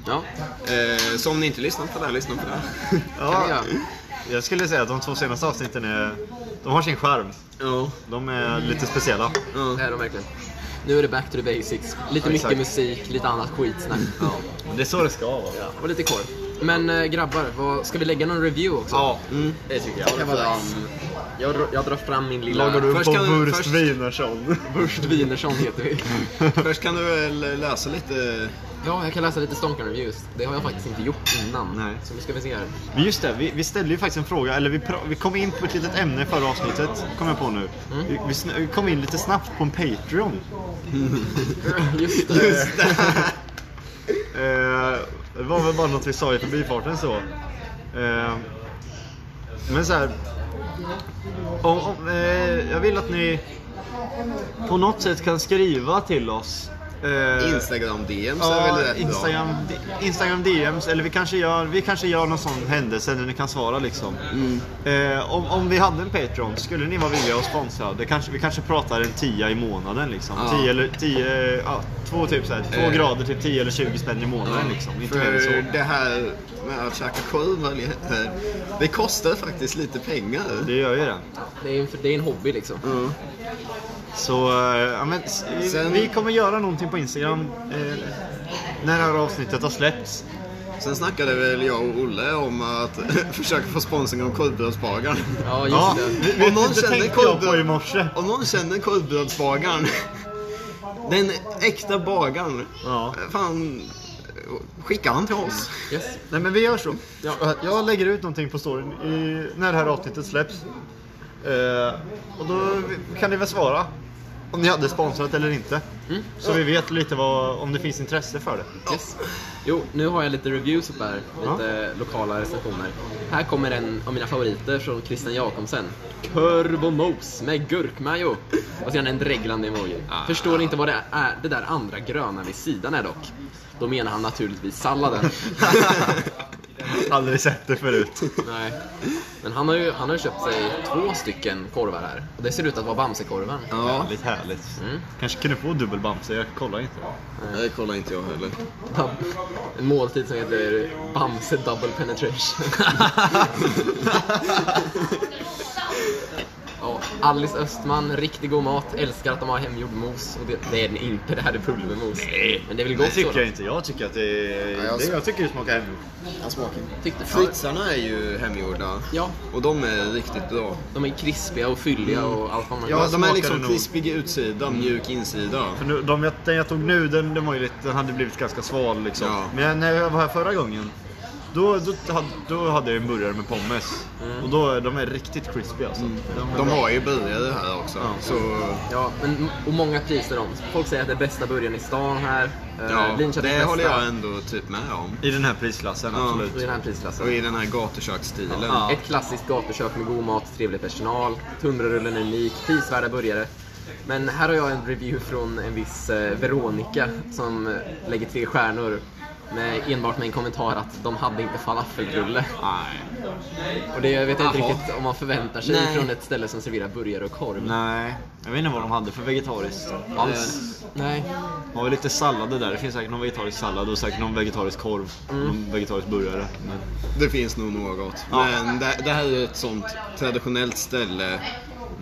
[SPEAKER 3] Ja,
[SPEAKER 2] Eh, så om ni inte lyssnat på det här, lyssna på det. här.
[SPEAKER 3] kan vi göra.
[SPEAKER 1] jag skulle säga att de två senaste avsnitten är... De har sin charm.
[SPEAKER 2] Ja.
[SPEAKER 1] De är lite speciella.
[SPEAKER 2] ja.
[SPEAKER 3] Det är de verkligen. Nu är det back to the basics. Lite mycket
[SPEAKER 1] exakt.
[SPEAKER 3] musik, lite annat skitsnack.
[SPEAKER 1] Det är så det ska vara.
[SPEAKER 3] Ja, Och lite korv. Men eh, grabbar, vad, ska vi lägga någon review också?
[SPEAKER 1] Ja,
[SPEAKER 2] Mm.
[SPEAKER 1] det tycker jag.
[SPEAKER 3] Det kan vara dags. Jag, dr- jag drar fram min lilla...
[SPEAKER 1] Lagar du
[SPEAKER 2] Först
[SPEAKER 1] på
[SPEAKER 2] kan du-
[SPEAKER 1] Wurst
[SPEAKER 2] först-
[SPEAKER 1] Wienersson?
[SPEAKER 3] Först Wienersson heter vi.
[SPEAKER 2] Först kan du väl läsa lite.
[SPEAKER 3] Ja, jag kan läsa lite Stonkan Reviews. Det har jag faktiskt inte gjort innan.
[SPEAKER 1] Nej.
[SPEAKER 3] Så nu ska vi se här.
[SPEAKER 1] Men just det, vi, vi ställde ju faktiskt en fråga, eller vi, pra- vi kom in på ett litet ämne i förra avsnittet, kom jag på nu.
[SPEAKER 3] Mm.
[SPEAKER 1] Vi, vi, sn- vi kom in lite snabbt på en Patreon.
[SPEAKER 3] Just det.
[SPEAKER 2] Just det.
[SPEAKER 1] Eh, det var väl bara något vi sa i förbifarten så. Eh, men så här, om, om, eh, jag vill att ni på något sätt kan skriva till oss. Eh,
[SPEAKER 2] Instagram DM så är
[SPEAKER 1] Ja,
[SPEAKER 2] väl rätt
[SPEAKER 1] Instagram, D- Instagram DMs, eller vi kanske, gör, vi kanske gör någon sån händelse där ni kan svara liksom.
[SPEAKER 2] Mm.
[SPEAKER 1] Eh, om, om vi hade en Patreon, skulle ni vara villiga att sponsra? Det kanske, vi kanske pratar en tia i månaden liksom.
[SPEAKER 2] Ja.
[SPEAKER 1] Tio eller, tio, ja, två typ såhär, två
[SPEAKER 2] Eh.
[SPEAKER 1] grader, typ 10 eller 20 spänn i
[SPEAKER 2] bra.
[SPEAKER 1] månaden liksom. Inte mer än så.
[SPEAKER 2] För det här med att käka korv, vad det heter, det kostar faktiskt lite pengar.
[SPEAKER 1] Det gör ju det.
[SPEAKER 3] Det är, en, det är en hobby liksom.
[SPEAKER 2] Ja.
[SPEAKER 1] Så, eh, ja, men, s- vi-
[SPEAKER 2] Sen-
[SPEAKER 1] vi kommer göra någonting på Instagram eh, när det här avsnittet har släppts.
[SPEAKER 2] Sen snackade väl jag och Olle om att försöka få sponsring av korvbrödsbagaren.
[SPEAKER 3] Ja, just
[SPEAKER 1] Ja,
[SPEAKER 3] det.
[SPEAKER 1] vi-
[SPEAKER 2] Om någon
[SPEAKER 1] vi- det
[SPEAKER 2] känner
[SPEAKER 1] tänkte jag på
[SPEAKER 2] korvbröd-
[SPEAKER 1] i morse.
[SPEAKER 2] Om någon känner korvbrödsbagaren, den äkta bagaren,
[SPEAKER 1] Ja.
[SPEAKER 2] fan, skicka han till oss.
[SPEAKER 3] Yes.
[SPEAKER 1] Nej men vi gör så. Jag, jag lägger ut någonting på storyn i, när det här avsnittet släpps. Eh, och då kan ni väl svara om ni hade sponsrat eller inte.
[SPEAKER 3] Mm.
[SPEAKER 1] Så vi vet lite vad, om det finns intresse för det.
[SPEAKER 3] Yes. Jo, nu har jag lite reviews upp här. Lite lokala recensioner. Här kommer en av mina favoriter från Christian Jakobsen. Curb och mos med gurkmajo. Och sedan en dreglande emoji. Förstår inte vad det är, det där andra gröna vid sidan är dock. Då menar han naturligtvis salladen.
[SPEAKER 1] Aldrig sett det förut.
[SPEAKER 3] Nej. Men han har ju han har ju köpt sig två stycken korvar här. Och det ser ut att vara Bamsekorven.
[SPEAKER 2] Ja,
[SPEAKER 1] Härligt, härligt.
[SPEAKER 3] Mm.
[SPEAKER 1] Kanske kunde få dubbel Bamse, jag kollar inte.
[SPEAKER 2] det kollar inte jag heller.
[SPEAKER 3] En måltid som heter Bamse Double Penetration. Ja, Alice Östman, riktigt god mat, älskar att de har hemgjord mos. Och det, det är den inte, det här är pulvermos. Men det är väl
[SPEAKER 1] Det
[SPEAKER 3] gott
[SPEAKER 1] tycker
[SPEAKER 3] så?
[SPEAKER 1] jag inte, jag tycker att det är...
[SPEAKER 2] Ja, jag-
[SPEAKER 1] det, jag tycker det smakar hemgjort.
[SPEAKER 2] Jag smakar.
[SPEAKER 3] Tyckte
[SPEAKER 2] Fritzarna är ju hemgjorda.
[SPEAKER 3] Ja,
[SPEAKER 2] Och de är riktigt bra.
[SPEAKER 3] de är krispiga och fylliga och allt vad man
[SPEAKER 2] Mm. Ja, de är
[SPEAKER 1] smakade
[SPEAKER 2] liksom
[SPEAKER 1] nog.
[SPEAKER 2] krispig utsida, mjuk insida.
[SPEAKER 1] För nu, de jag, den jag tog nu, den, den, var ju lite, den hade blivit ganska sval liksom.
[SPEAKER 2] Ja.
[SPEAKER 1] Men när jag var här förra gången, då, då, hade- då hade jag en burgare med pommes.
[SPEAKER 3] Mm.
[SPEAKER 1] Och då, de är riktigt crispy alltså.
[SPEAKER 2] Mm.
[SPEAKER 1] De,
[SPEAKER 2] De har ju burgare här också.
[SPEAKER 1] Ja.
[SPEAKER 2] Så
[SPEAKER 3] Ja, men, och många priser dem. Folk säger att det är bästa burgaren i stan här. Eh,
[SPEAKER 2] ja,
[SPEAKER 3] Linköpings
[SPEAKER 2] det
[SPEAKER 3] bästa.
[SPEAKER 2] håller jag ändå typ med om.
[SPEAKER 1] I den här prisklassen,
[SPEAKER 2] Ja.
[SPEAKER 3] I
[SPEAKER 1] absolut.
[SPEAKER 3] den här prisklassen.
[SPEAKER 2] Och i den här gatuköksstilen.
[SPEAKER 1] Ja.
[SPEAKER 3] Ett klassiskt gatukök med god mat, trevlig personal, tunnbrödsrullen är unik, prisvärda burgare. Men här har jag en review från en viss eh, Veronica som eh, lägger tre stjärnor med, enbart med en kommentar att de hade inte falafelrulle.
[SPEAKER 2] Nej.
[SPEAKER 3] Och det vet jag inte
[SPEAKER 2] Jaha.
[SPEAKER 3] riktigt om man förväntar sig
[SPEAKER 2] Nej.
[SPEAKER 3] från ett ställe som serverar burgare och korv.
[SPEAKER 1] Nej, jag vet inte vad de hade för vegetariskt alls.
[SPEAKER 3] Nej.
[SPEAKER 1] De har ju lite sallader där. Det finns säkert någon vegetarisk sallad och säkert någon vegetarisk korv.
[SPEAKER 3] Mm.
[SPEAKER 1] Någon vegetarisk burgare. Men...
[SPEAKER 2] Det finns nog något.
[SPEAKER 1] Ja.
[SPEAKER 2] Men det, det här är ett sånt traditionellt ställe.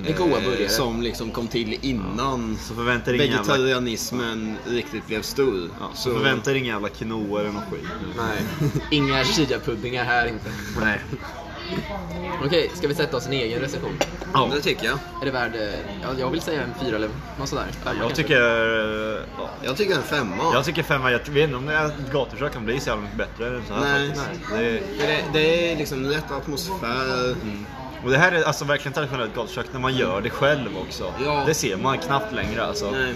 [SPEAKER 3] Det är goda burgare.
[SPEAKER 2] Som liksom kom till innan
[SPEAKER 1] Så förväntar ingen jävla,
[SPEAKER 2] vegetarianismen riktigt blev stor.
[SPEAKER 1] ja, så förväntar ingen jävla quinoa eller någon skit.
[SPEAKER 3] Nej. Inga chia-puddingar här inte.
[SPEAKER 1] Nej.
[SPEAKER 3] Okej, ska vi sätta oss en egen recension?
[SPEAKER 1] Ja.
[SPEAKER 2] Det tycker jag.
[SPEAKER 3] Är det värd, eh, ja, jag vill säga en fyra eller något sådär. Femma
[SPEAKER 1] Jag
[SPEAKER 3] kanske.
[SPEAKER 1] tycker... eh, Ja.
[SPEAKER 2] Jag tycker en femma.
[SPEAKER 1] Jag tycker femma, jag vet inte om det är ett gatukök kan bli så jävla mycket bättre än så här
[SPEAKER 2] Nej.
[SPEAKER 1] faktiskt. Det är,
[SPEAKER 2] För det, det är liksom rätt atmosfär.
[SPEAKER 1] och det här är alltså verkligen traditionellt gatukök när man gör det själv också.
[SPEAKER 2] Ja.
[SPEAKER 1] Det ser man knappt längre alltså.
[SPEAKER 2] Nej.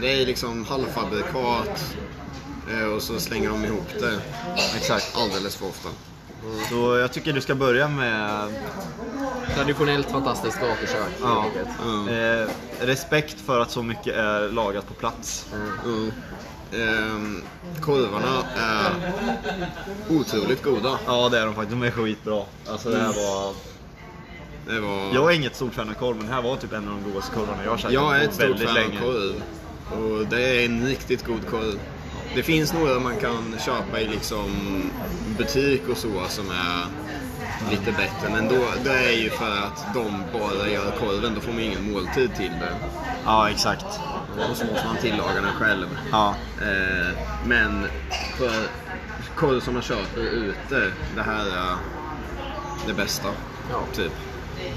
[SPEAKER 2] Det är liksom halvfabrikat. eh, Och så slänger de ihop det. Exakt. Alldeles för ofta.
[SPEAKER 1] Så jag tycker du ska börja med
[SPEAKER 3] Traditionellt fantastiskt gatukök
[SPEAKER 1] ja,
[SPEAKER 3] helt enkelt.
[SPEAKER 2] Mm.
[SPEAKER 1] eh, respekt för att så mycket är lagat på plats.
[SPEAKER 2] Mm. Ehm, korvarna är otroligt goda.
[SPEAKER 1] Ja det är de faktiskt, de är skitbra. Alltså det här
[SPEAKER 2] Mm.
[SPEAKER 1] var...
[SPEAKER 2] Det var...
[SPEAKER 1] Jag är inget stort fan av korv men det här var typ en av de godaste korvarna jag har käkat
[SPEAKER 2] Jag är
[SPEAKER 1] på
[SPEAKER 2] ett stort
[SPEAKER 1] väldigt
[SPEAKER 2] fan av
[SPEAKER 1] länge.
[SPEAKER 2] korv. Och det är en riktigt god korv. Det finns några man kan köpa i liksom butik och så som är lite bättre. Men då, det är ju för att de bara gör korven. Då får man ingen måltid till det.
[SPEAKER 1] Ja exakt.
[SPEAKER 2] Och så måste man tillaga den själv.
[SPEAKER 1] Ja.
[SPEAKER 2] Eh, men för korv som man köper ute, det här är det bästa.
[SPEAKER 3] Ja.
[SPEAKER 2] Typ.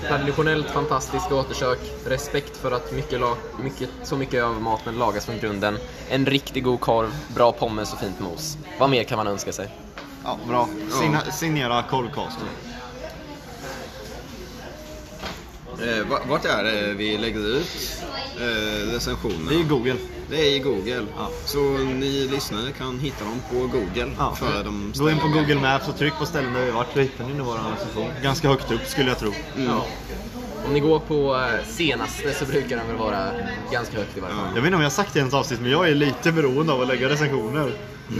[SPEAKER 3] Traditionellt fantastiskt gatukök. Respekt för att mycket la- mycket, så mycket av maten lagas från grunden. En riktigt god korv, bra pommes och fint mos. Vad mer kan man önska sig?
[SPEAKER 1] Ja, bra. Signa, signera korvcast.
[SPEAKER 2] Eh, va- vart är det vi lägger ut eh, recensionerna?
[SPEAKER 1] Det är Google.
[SPEAKER 2] Det är i Google.
[SPEAKER 1] Ja.
[SPEAKER 2] Så ni lyssnare kan hitta dem på Google.
[SPEAKER 1] Ja.
[SPEAKER 2] För de
[SPEAKER 1] Gå in på
[SPEAKER 2] ställen.
[SPEAKER 1] Google Maps och tryck på ställen där vi varit så hittar ni nog vår organisation. Ganska högt upp skulle jag tro.
[SPEAKER 2] Mm.
[SPEAKER 3] Om ni går på eh, senaste så brukar den väl vara ganska högt i varje fall.
[SPEAKER 1] Jag vet inte om jag har sagt det i något avsnitt men jag är lite beroende av att lägga recensioner.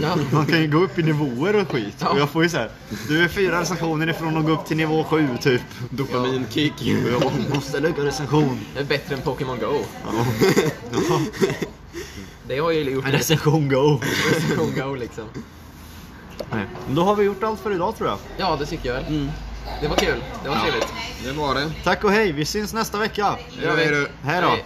[SPEAKER 3] Ja.
[SPEAKER 1] Man kan ju gå upp i nivåer och skit.
[SPEAKER 3] Ja.
[SPEAKER 1] Och jag får ju såhär, du är fyra recensioner ifrån att gå upp till nivå sju typ.
[SPEAKER 2] Dopaminkick.
[SPEAKER 1] Och jag måste lägga recension.
[SPEAKER 3] Det är bättre än Pokémon Go.
[SPEAKER 1] Ja.
[SPEAKER 3] Det har ju gjort
[SPEAKER 1] En recension go.
[SPEAKER 3] Pokémon Go liksom.
[SPEAKER 1] Nej. Men Då har vi gjort allt för idag tror jag.
[SPEAKER 3] Ja, det tycker jag väl. Det var kul. Det var
[SPEAKER 2] Ja.
[SPEAKER 3] trevligt.
[SPEAKER 2] Det var det.
[SPEAKER 1] Tack och hej, vi syns nästa vecka.
[SPEAKER 2] Hej då.
[SPEAKER 1] Hej då.
[SPEAKER 3] Hej.